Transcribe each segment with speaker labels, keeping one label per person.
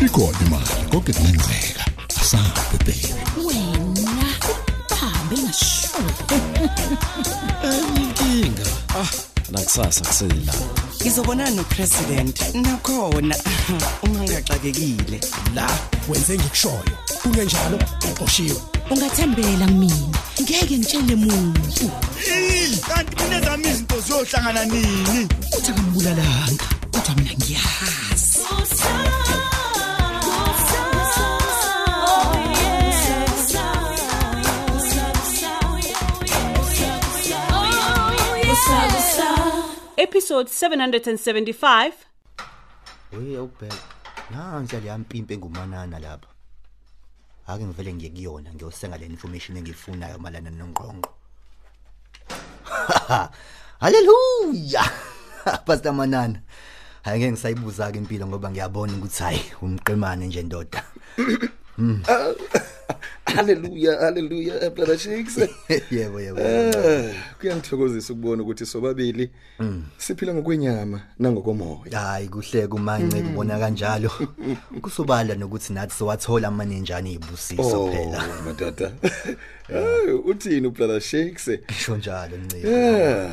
Speaker 1: ikhona imali konke kungenzeka asabe baby
Speaker 2: wena bahambe ngasho
Speaker 3: inkinga ah nakusasa kusela
Speaker 4: Ngizobonana nopresident nakhona uma ngiyaxakekile.
Speaker 5: la wenze ngikushoyo kungenjalo uqoshiwe
Speaker 2: ungathembela mina ngeke ngitshele muntu
Speaker 6: kanti mina zami izinto ziyohlangana nini
Speaker 2: uthi akambulalanga kodwa mina ngiyazi
Speaker 7: episode 775
Speaker 6: oye awubheka nansiya leya mpimpe engumanana lapha ake ngivele ngiye kuyona ngiyosenga le information engiyifunayo malana nongqongqo halleluya pastor manana hayi ngeke ngisayibuza-ke impilo ngoba ngiyabona ukuthi hhayi umqemane nje ndoda
Speaker 3: haleluya haleluya brother shakes
Speaker 6: yebo yebo
Speaker 3: Eh, kuyangithokozisa ukubona ukuthi sobabili siphila ngokwenyama nangokomoya
Speaker 6: hayi kuhle kumance kubona kanjalo kusobala nokuthi nathi siwathola amanenjane
Speaker 3: Oh.
Speaker 6: ey'busiso phela
Speaker 3: madoda Eh, uthini ubrother shakes
Speaker 6: ngisho njalo ncika
Speaker 3: Eh,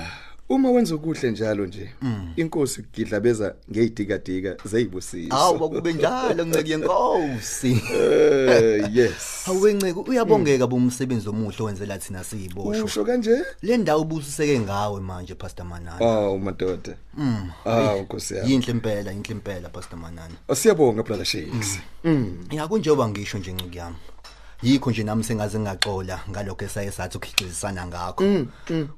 Speaker 3: uma wenza okuhle njalo nje inkosi kugidlabeza ngeyidikadika
Speaker 6: awu
Speaker 3: zeyibusiso
Speaker 6: bakube njalo nceke yenkosi
Speaker 3: Eh, yes
Speaker 6: awenceke uyabongeka bomsebenzi omuhle owenzela thina siyiboshwa
Speaker 3: usho kanje
Speaker 6: le ndawo ubusiseke ngawe manje pastor manana
Speaker 3: awu madoda awu nkosi yami
Speaker 6: yinhle impela yinhle impela pastor manana
Speaker 3: siyabonga brother shakes
Speaker 6: yakunjengoba ngisho nje ncike yami yikho nje nami sengaze ngaxola ngalokho esaye sathi ukhicizisana ngakho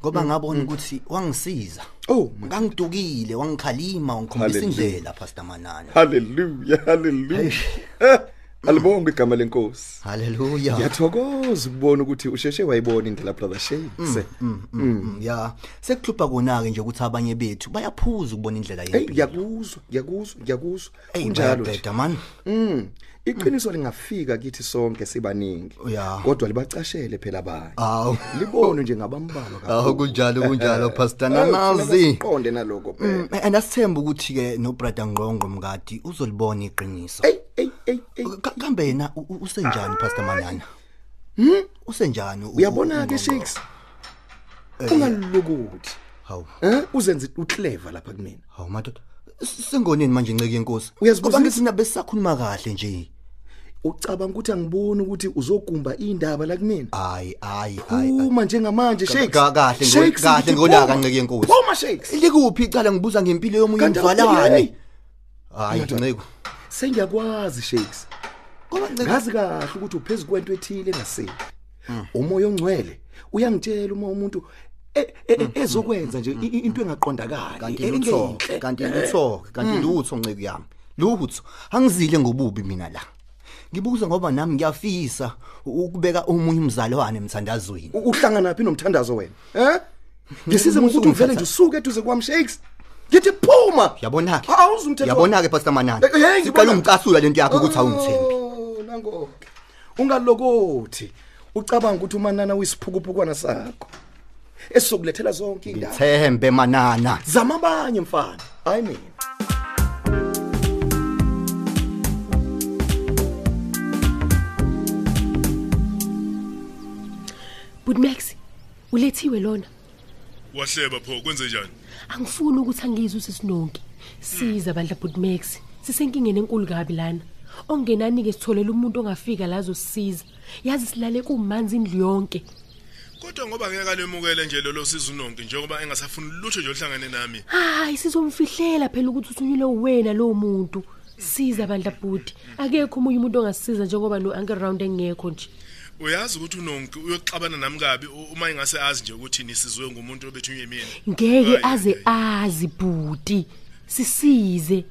Speaker 6: ngoba ngabona ukuthi wangisiza
Speaker 3: oh
Speaker 6: ngangidukile wangikhalima wangikhombisa
Speaker 3: Hallelujah.
Speaker 6: indlela pastor manana
Speaker 3: haleluya haleluya Eh, alibonga igama lenkosi
Speaker 6: haleluya
Speaker 3: ngiyathokoza ukubona ukuthi usheshe wayibona indlela brother shakes
Speaker 6: Mm, ya sekuhlupha konake nje ukuthi abanye bethu bayaphuza ukubona indlela
Speaker 3: eyi
Speaker 6: yempilo
Speaker 3: ngiyakuzwa ngiyakuzwa ngiyakuzwa
Speaker 6: Eyi,
Speaker 3: kunjalo nje
Speaker 6: bayabheda mani
Speaker 3: Mm. Iqiniso lingafika kithi sonke sibaningi.
Speaker 6: Ya. Ah.
Speaker 3: Kodwa libacashele phela abanye.
Speaker 6: Awu.
Speaker 3: Libone nje ngabambalwa
Speaker 6: Awu kunjalo kunjalo pastor nanazi.
Speaker 3: Uqonde naloko phela.
Speaker 6: Mm, and asithemba ukuthi ke no brother Ngqongqo mngadi uzolibona iqiniso.
Speaker 3: Ey ey ey ey.
Speaker 6: Ka- Kambe yena u- u- usenjani pastor Manana? Hm? Usenjani? u-
Speaker 3: Uyabona ke
Speaker 6: uNgqongqo?
Speaker 3: Shakes. Ungalokuthi.
Speaker 6: Hawu.
Speaker 3: Eh uzenze uclever lapha kumina.
Speaker 6: Hawu madoda. S- Sengoneni manje inceke yenkosi.
Speaker 3: Uyazibuzisa?
Speaker 6: Ngoba ngithi nabe sisakhuluma kahle nje.
Speaker 3: Ucabanga ukuthi angiboni ukuthi uzogumba indaba la kumina.
Speaker 6: Hayi hayi Ah, hayi.
Speaker 3: Uma njengamanje
Speaker 6: Kahle
Speaker 3: Shakes.
Speaker 6: kahle
Speaker 3: Shakes,
Speaker 6: kahle
Speaker 3: ngithi
Speaker 6: ngolaka
Speaker 3: phuma.
Speaker 6: inceke yenkosi.
Speaker 3: Phuma Shakes.
Speaker 6: Likuphi icala ngibuza ngempilo yomunye
Speaker 3: Kanti
Speaker 6: umzwalane?
Speaker 3: hey.
Speaker 6: Hayi
Speaker 3: Madoda.
Speaker 6: inceke.
Speaker 3: Sengiyakwazi Shakes.
Speaker 6: Ngoba inceke
Speaker 3: ngazi kahle ukuthi uphezulu kwento ethile engasiyo
Speaker 6: Hmm.
Speaker 3: umoya ongcwele uyangitshela uma umuntu e- e- e- ezokwenza nje i- i- into engaqondakali
Speaker 6: Hmm. kanti
Speaker 3: e-
Speaker 6: lutho
Speaker 3: engenhle.
Speaker 6: kanti lutho kanti
Speaker 3: Mm.
Speaker 6: lutho nceke yami lutho angizile ngobubi mina la ngibuza ngoba nami ngiyafisa ukubeka omunye umzalwane emthandazweni
Speaker 3: U- uhlangana phi nomthandazo wena eh ngisize ngokuthi
Speaker 6: Usungithatha-
Speaker 3: uvele nje usuke eduze kwami shakes ngithi phuma
Speaker 6: yabona ke
Speaker 3: Awuzumthetho-
Speaker 6: yabona ke pastor manana
Speaker 3: Eh, eh, ngibona- Mm.
Speaker 6: sicela ungicasula lento yakho ukuthi awungithembi
Speaker 3: Oh, nangoke ungalokothi ucabanga ukuthi umanana uyisiphukupukwana sakho esizokulethela zonke indaba
Speaker 6: thembe manana
Speaker 3: zama abanye mfana hayi mina
Speaker 8: But Max, ulethiwe lona.
Speaker 9: wahleba pho kwenze njani
Speaker 8: Angifuni ukuthi angizwe sisinonke. Siza bandla but Max, sisenkingeni enkulu kabi lana. Ongenani ke sitholela umuntu ongafika lazo sisiza. Yazi silale kumanzi indlu yonke.
Speaker 9: kodwa ngoba ngeke alemukele nje lolo sizunonke njengoba engasafuni lutho nje ohlangane nami
Speaker 8: Hayi sizomfihlela phela ukuthi uthunyelwe uwena lo muntu. Siza bandla but. Akekho umunye umuntu ongasisiza njengoba no uncle round engekho nje.
Speaker 9: uyazi ukuthi unonke uyoxabana nami kabi u- uma engase azi nje ukuthi nisizwe ngumuntu obethunywe mina
Speaker 8: Ngeke
Speaker 9: Ay,
Speaker 8: aze azi buti. Sisize.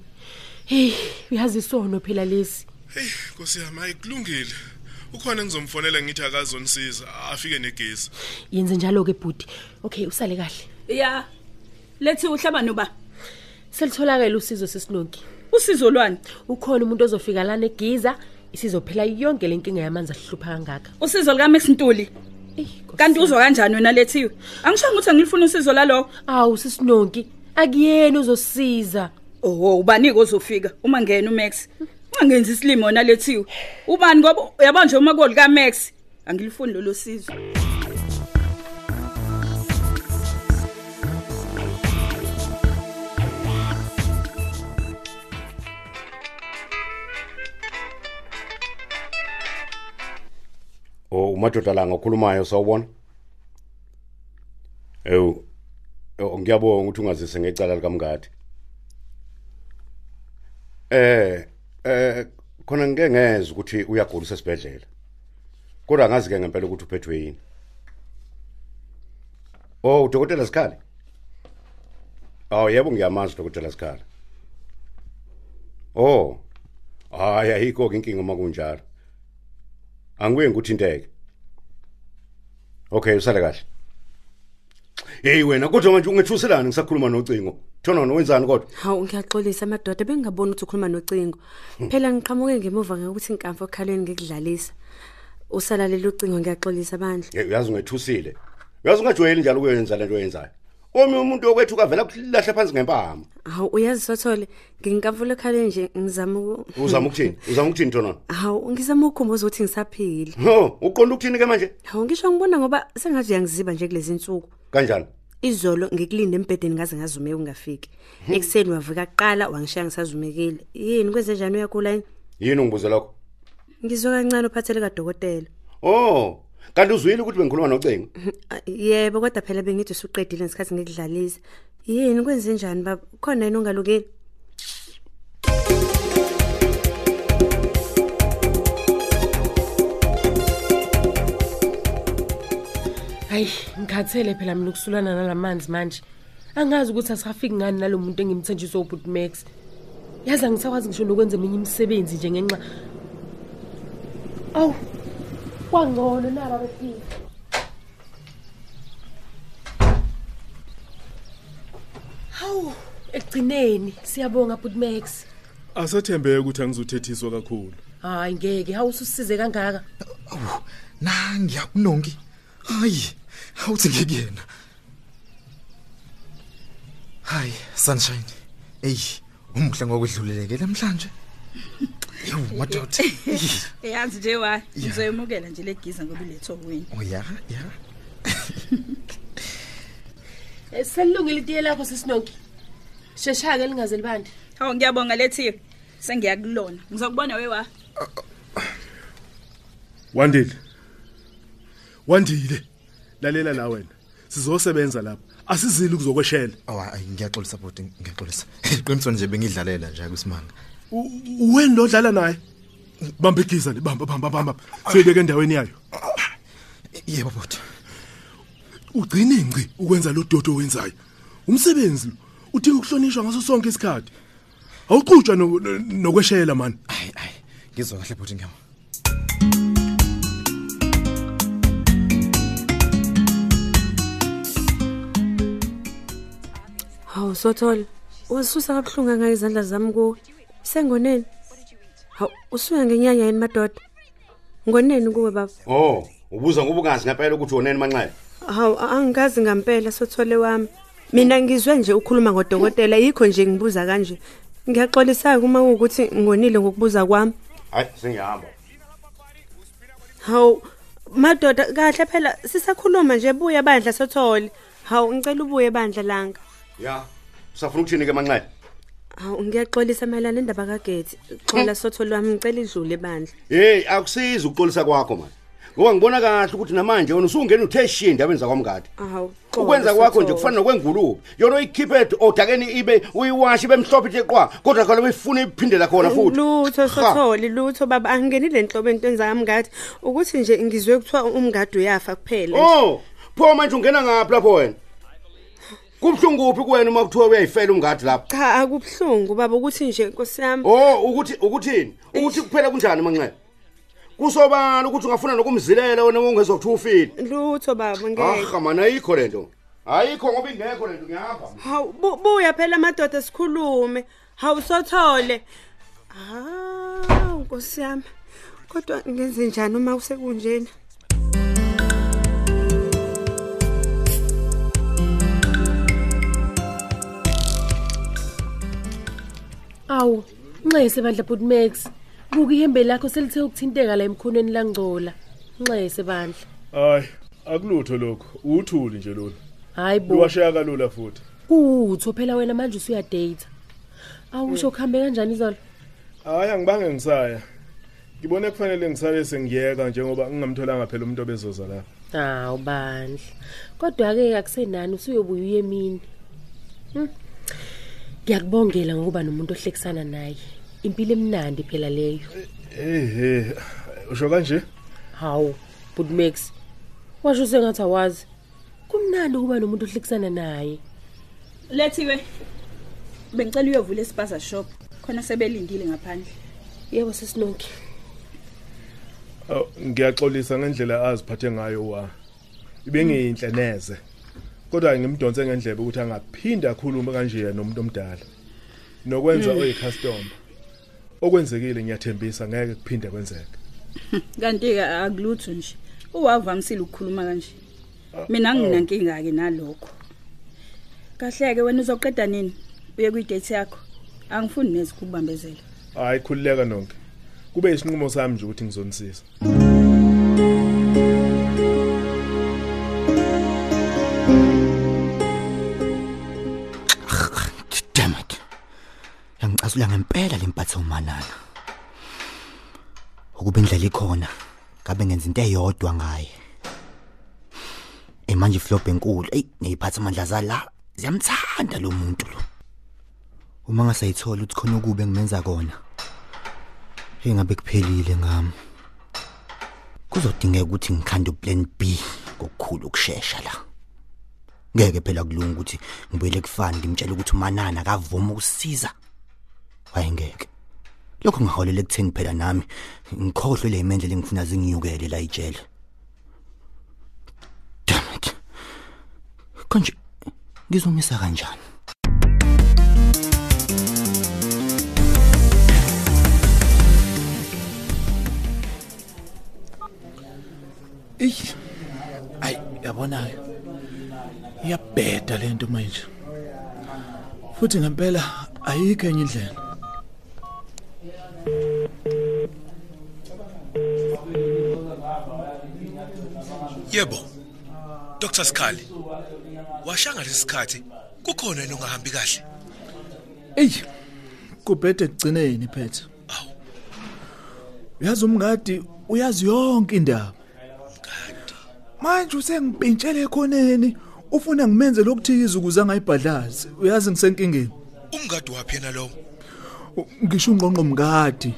Speaker 8: Hey, uyazi sono phela lesi.
Speaker 9: hey nkosi yami hayi kulungile ukhona ngizomfonela ngithi akazonisiza afike negezi
Speaker 8: Yenze njalo ke buti. Okay, usale kahle.
Speaker 7: ya lethi uhlaba noba
Speaker 8: Selitholakala usizo sesinonki.
Speaker 7: usizo lwani
Speaker 8: Ukhona umuntu ozofika lana eGiza isizophela yonke lenkinga yamanzi ahlupha kangaka.
Speaker 7: usizo likaMax Ntuli kanti uzwa kanjani wena lethiwe angishongo ukuthi angilifuna usizo lalo
Speaker 8: awu sisinonki akuyena uzosiza.
Speaker 7: oho ubani kozofika uma ngena uMax ungangenzi isilimo nalethiwe ubani ngoba yabona nje uma kolika Max angilifuni lolo sizo
Speaker 10: o Oh, umadoda la ngokhulumayo sawubona ewu oh, ngiyabonga ukuthi ungazise ngecala likamngadi eh eh khona ngeke ngeze ukuthi uyagulisa esibhedlela kodwa angazi ke ngempela ukuthi uphethwe yini oh udokotela sikhali aw yebo ngiyamazi udokotela sikhali oh hayi ayikho ke inkinga uma kunjalo Angikuye ngikuthinteke. Okay, usale kahle. Hey wena kodwa manje ungethuselana ngisakhuluma nocingo. Thona nowenzani kodwa?
Speaker 11: Hawu ngiyaxolisa amadoda bengingaboni ukuthi ukhuluma nocingo. Phela ngiqhamuke ngemuva ngokuthi inkamfa okhalweni ngikudlalisa. Usalalela ucingo ngiyaxolisa bandla.
Speaker 10: Hey uyazi ungethulisile. Uyazi ungajwayeli njalo ukwenza lento oyenzayo. Omi umuntu okwethu kavela kuhlahle phansi ngempama.
Speaker 11: Hawu uyazi sothole nginkamfulo ekhaleni nje ngizama uku-
Speaker 10: Uzama ukuthini? Uzama ukuthini thona?
Speaker 11: Hawu ngizama ukukhumbuza ukuthi ngisaphila.
Speaker 10: Ho, uqonda ukuthini ke manje?
Speaker 11: Hawu ngisho ngibona ngoba sengathi uyangiziba nje kulezi insuku.
Speaker 10: Kanjani?
Speaker 11: Izolo ngikulinde embhedeni ngaze ngazume ungafiki. Ekseni wavuka kuqala wangishiya ngisazumekile. Yini kwenze njani uyakho la?
Speaker 10: Yini ungibuze lokho?
Speaker 11: Ngizwa kancane uphathele kadokotela.
Speaker 10: Oh, kanti uzwile ukuthi bengikhuluma nocingo?
Speaker 11: Ah, Yebo kodwa phela bengithi usuqedile ngesikhathi ngikudlalisa. Yini kwenze njani baba? Khona yini ongalukile?
Speaker 8: hayi ngikhathele phela mina ukusulana nalamanzi manje angazi ukuthi asafiki ngani nalo muntu engimthenjiswe ubut max yazi angisakwazi ngisho nokwenza eminye imisebenzi nje ngenxa awu kwangcono naba befika hawu ekugcineni siyabonga but max
Speaker 9: Asethembeke ukuthi angizuthethiswa kakhulu.
Speaker 8: hayi ngeke hawu ususize kangaka
Speaker 5: nangiya unongi hayi awuthi ngikuyena hayi sunshine eyi umuhle ngokwedluleleke namhlanje yho madoda Eyi,
Speaker 7: eyazi nje wa ngizoyemukela nje legiza ngoba iletho wena
Speaker 5: oh ya ya
Speaker 8: Eh, selilungile itiye lakho sisinonki sheshake lingaze libande
Speaker 7: hawu ngiyabonga lethiwe sengiyakulona ngizokubona wewa
Speaker 9: Wandile. Wandile. Lalela la wena. Sizosebenza lapha. Asizili kuzokweshela.
Speaker 5: awa ayi, ngiyaxolisa bodi ngiyaxolisa iqiniso nje bengidlalela nje akusimanga
Speaker 9: Wena lo dlala naye. Bamba igiza libamba bamba bamba. Sibeke endaweni yayo.
Speaker 5: yebo bodi
Speaker 9: Ugcine ingci ukwenza lo dodo owenzayo. Umsebenzi lo udinga ukuhlonishwa ngaso sonke isikhathi. Awuqhutshwa no- no- nokweshela man.
Speaker 5: ngizwa kahle bodi ngiyama
Speaker 11: Hawu sothola. Uzisusa kabuhlungu ngayo izandla zami kuwe. Sengoneni. Hawu usuya ngenyanya yini madoda? Ngoneni kuwe baba?
Speaker 10: Oh, ubuza ngoba ungazi ngempela ukuthi woneni manxele.
Speaker 11: Hawu angikazi ngampela sothole wami. Mina ngizwe nje ukhuluma ngodokotela yikho nje ngibuza kanje. Ngiyaxolisa uma ukuthi ngonile ngokubuza kwami.
Speaker 10: Hayi, sengihamba.
Speaker 11: Hawu madoda kahle phela sisakhuluma nje buya bandla sothole. Hawu ngicela ubuye bandla langa.
Speaker 10: Ya. Usafuna ukuthini ke manxele?
Speaker 11: Hawu ngiyaxolisa mayelana indaba kaGethi. Xola sothole wami ngicela idlule bandla.
Speaker 10: Hey, akusizi ukuxolisa kwakho manje. Ngoba ngibona kahle ukuthi namanje wena usungena utheshiya indabeni zakwamngadi.
Speaker 11: Hawu xolo,
Speaker 10: Ukwenza kwakho nje
Speaker 11: Sothole.
Speaker 10: kufana nokwengulube. Yona uyikhiphe odakeni ibe uyiwashi bemhlophe nje qwa, kodwa khona uyifuna iphindela khona futhi.
Speaker 11: lutho
Speaker 10: Ha.
Speaker 11: sothole lutho baba angenile enhlobo into enzaka mngadi ukuthi nje ngizwe kuthiwa umngadi uyafa kuphela nje.
Speaker 10: Oh, pho manje ungena ngaphi lapho wena? Kubhlungu kuphi kuwena uma kuthiwa uyayifela umngadi lapho?
Speaker 11: cha akubhlungu baba ukuthi nje nkosi yami
Speaker 10: Oh, ukuthi ukuthini? Ukuthi kuphela kunjani manxele? Kusobani ukuthi ungafuna nokumzilela wena ungezokuthi ufile?
Speaker 12: Eh.
Speaker 11: lutho baba ngeke
Speaker 10: Ah, mana ayikho lento. Ayikho ngoba ingekho lento ngiyahamba.
Speaker 11: hawu bu- buya phela madoda sikhulume hawu sothole hawu nkosi yami kodwa ngenze njani uma kusekunjena
Speaker 8: awu nxese bandla but max buka ihembe lakho selithe ukuthinteka la emkhonweni langcola nxese bandla
Speaker 9: hayi akulutho lokho uthuli nje lona
Speaker 8: hayi bo
Speaker 9: luwashaya kalula futhi
Speaker 8: kutho phela wena manje usuyadata awusho kuhambe kanjani izolo
Speaker 9: hayi angibange ngisaya ngibone kufanele ngisale sengiyeka njengoba ngingamtholanga phela umuntu obezoza la
Speaker 8: hawu bandla kodwa-ke akusenani usuyobuya uye emini Hmm. ngiyakubongela ngokuba nomuntu ohlekisana naye impilo emnandi phela leyo
Speaker 9: ehe usho kanje
Speaker 8: hawu budmax washo sengathi awazi kumnandi ukuba nomuntu ohlekisana naye
Speaker 7: lethiwe bengicela uyovula isibaza shop khona sebelindile ngaphandle
Speaker 8: yebo sesinonke
Speaker 9: Awu, ngiyaxolisa ngendlela aziphathe ngayo wa ibengiyinhle neze kodwa ngimdonse ngendlebe ukuthi angaphinda akhulume kanje nomuntu omdala nokwenza
Speaker 7: Mm.
Speaker 9: oyicustomer okwenzekile ngiyathembisa ngeke kuphinde kwenzeke
Speaker 7: kanti-ke akulutho nje uwavamisile ukukhuluma kanje mina anginankinga-ke nalokho kahle-ke wena uzoqeda nini uye kwidethi yakho angifuni neze ukukubambezela
Speaker 9: hayi khululeka nonke kube isinqumo sami nje ukuthi ngizonisisa
Speaker 6: damn it yangicasula ngempela lempatha umanala ukuba indlela ikhona ngabe ngenza into eyodwa ngaye emanje iflop enkulu eyi ngiyiphatha amandla zala ziyamthanda lo muntu lo uma ngasayithola ukuthi khona ukube ngimenza kona eyi ngabe kuphelile ngami kuzodingeka ukuthi ngikhande uplan b ngokukhulu ukushesha la ngeke phela kulunga ukuthi ngibuyele kufani ngimtshele ukuthi umanana akavuma ukusiza wayengeke lokho ngiholele ekutheni phela nami ngikhohlwe le imendlela engifuna zingiyukele la ijele damn it konje ngizomisa kanjani
Speaker 12: Ich ayi yabona ke. Iyabheda lento manje. Futhi ngempela ayikho enye indlela.
Speaker 13: Yebo. Dr. Skhali. Washanga lesikhathi kukhona elongahambi kahle.
Speaker 12: Ey. Kubhede kugcineni phethe. Uyazi umngadi uyazi yonke indaba. Manje usengipintshele ekhoneni ufuna ngimenze lokuthiza ukuze angayibhadlazi. Uyazi ngisenkingeni.
Speaker 13: Umngadi waphi yena lowo?
Speaker 12: ngisho ungqongqo mngadi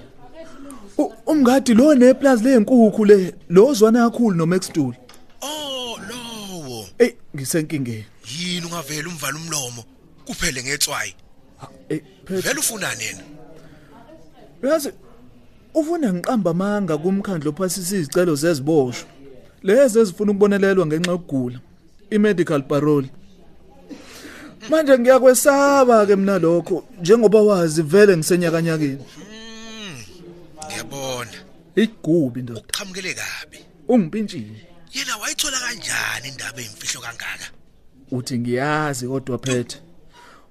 Speaker 12: U- umngadi lo neplazi lenkukhu le lo zwana kakhulu nomax dule
Speaker 13: Oh, lowo.
Speaker 12: ey ngisenkingeni
Speaker 13: Yini ungavela umvala umlomo kuphele ngetswayi.
Speaker 12: Eh,
Speaker 13: vele ufunani yena?
Speaker 12: uyazi ufuna ngiqamba amanga kumkhandlo ophasisa izicelo zeziboshwa lezi ezifuna ukubonelelwa ngenxa yokugula i-medical parole manje ngiyakwesaba-ke mina lokho njengoba wazi vele ngisenyakanyakeni
Speaker 13: Ngiyabona.
Speaker 12: igubi ndoda
Speaker 13: Qhamukele kabi.
Speaker 12: ungimpintshile
Speaker 13: Yena wayithola kanjani indaba eyimfihlo kangaka?
Speaker 12: uthi ngiyazi kodwa phethe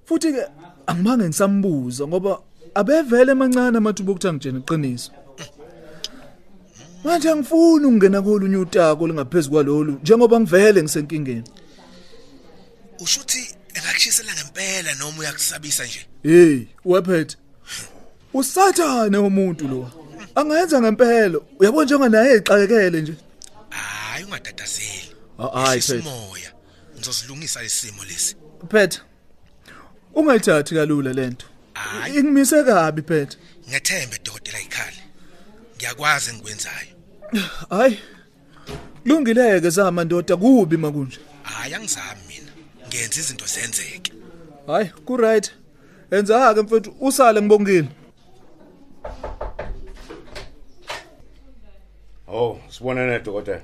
Speaker 12: futhi ke angibange ngisambuza ngoba abevele emancane amathuba okuthi angitshene iqiniso manje angifuni ukungena kolunye utako olungaphezu kwalolu njengoba ngivele ngisenkingeni
Speaker 13: Ushuthi engakushisela ngempela noma uyakusabisa nje.
Speaker 12: heyi wephethe usathane umuntu lo angayenza ngempela uyabona njengoba naye exakekele nje
Speaker 13: Hayi ungadadazeli.
Speaker 12: hayi phethe
Speaker 13: Simoya. Ngizozilungisa isimo lesi.
Speaker 12: phethe ungayithathi kalula lento ingimise kabi phethe
Speaker 13: Ngethembe dokotela ikhali. Ngiyakwazi engikwenzayo.
Speaker 12: hayi kulungileke zamandoda kubi makunje
Speaker 13: Hayi angizami mina. Ngenza izinto zenzeke.
Speaker 12: hayi kuright yenza-ke mfethu usale ngibongile
Speaker 10: Oh, sibonene dokotela.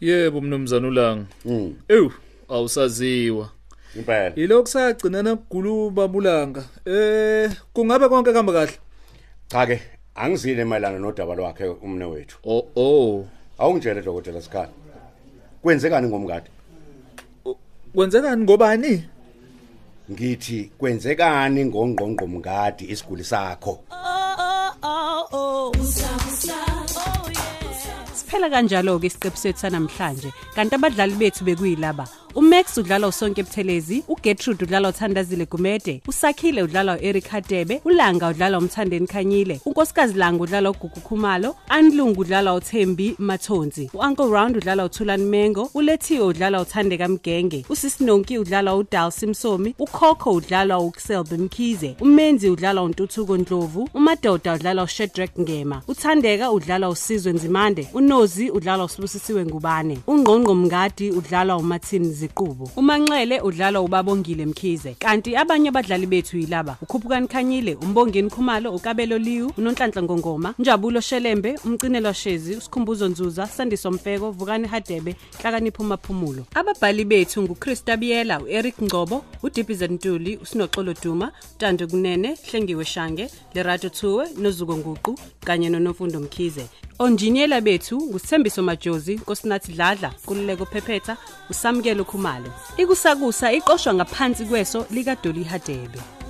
Speaker 14: Yebo mnumzane uLanga.
Speaker 10: Mm.
Speaker 14: Ew, awusaziwa.
Speaker 10: Impela.
Speaker 12: yilokhu sagcina nakuguluba bulanga eh kungabe konke kuhamba kahle
Speaker 10: Cha ke, angizile mayelana nodaba lwakhe umne wethu.
Speaker 14: Oh oh.
Speaker 10: Awungitshele dokotela Skhali. Kwenzekani ngomngadi?
Speaker 12: kwenzekani ngobani
Speaker 10: Ngithi kwenzekani ngongqongqo mngadi isiguli sakho.
Speaker 15: oh, oh, Saphela kanjalo ke isiqephu sethu sanamhlanje. Kanti abadlali bethu bekuyilaba. uMax udlala uSonke Buthelezi, uGertrude udlala uThandazile Gumede, uSakhile udlala uEric Hadebe, uLanga udlala uMthandeni Khanyile, uNkosikazi Langa udlala uGugu Khumalo, Anlungu udlala uThembi Mathonzi, uUncle Round udlala uThulani Mengo, uLethiwe udlala uThandeka Mgenge, uSisinonki udlala uDalsi Msomi, uKhokho udlala uKselbe Mkhize, uMenzi udlala uNtuthuko Ndlovu, uMadoda udlala uShedrack Ngema, uThandeka udlala uSizwe Nzimande, uNozi udlala uSibusisiwe Ngubane, uNgqongqo Mngadi udlala uMathini Ziqubo, uManxele udlala uBabongile Mkhize, kanti abanye abadlali bethu yilaba uKhuphukani Khanyile, uMbongeni Khumalo, uKabelo Liwu, uNonhlanhla Ngongoma, Njabulo Shelembe, uMcinelwa Shezi, uSkhumbuzo Nzuza, Sandiso Mfeko, Vukani Hadebe, Hlakanipho Maphumulo. Ababhali bethu nguChrista Biyela, uEric Ngcobo, uDibiza Ntuli, uSinoxolo Duma, Tando Kunene, Hlengiwe Shange, Lerato Thuwe, Nozuko Nguqu kanye noNofundo Mkhize. Onjiniyela bethu nguSthembiso Majozi, Nkosinathi Dladla, Kululeko Phephetha, uSamukelo Khumalo. Ikusakusa iqoshwa ngaphansi kweso likaDoli Hadebe.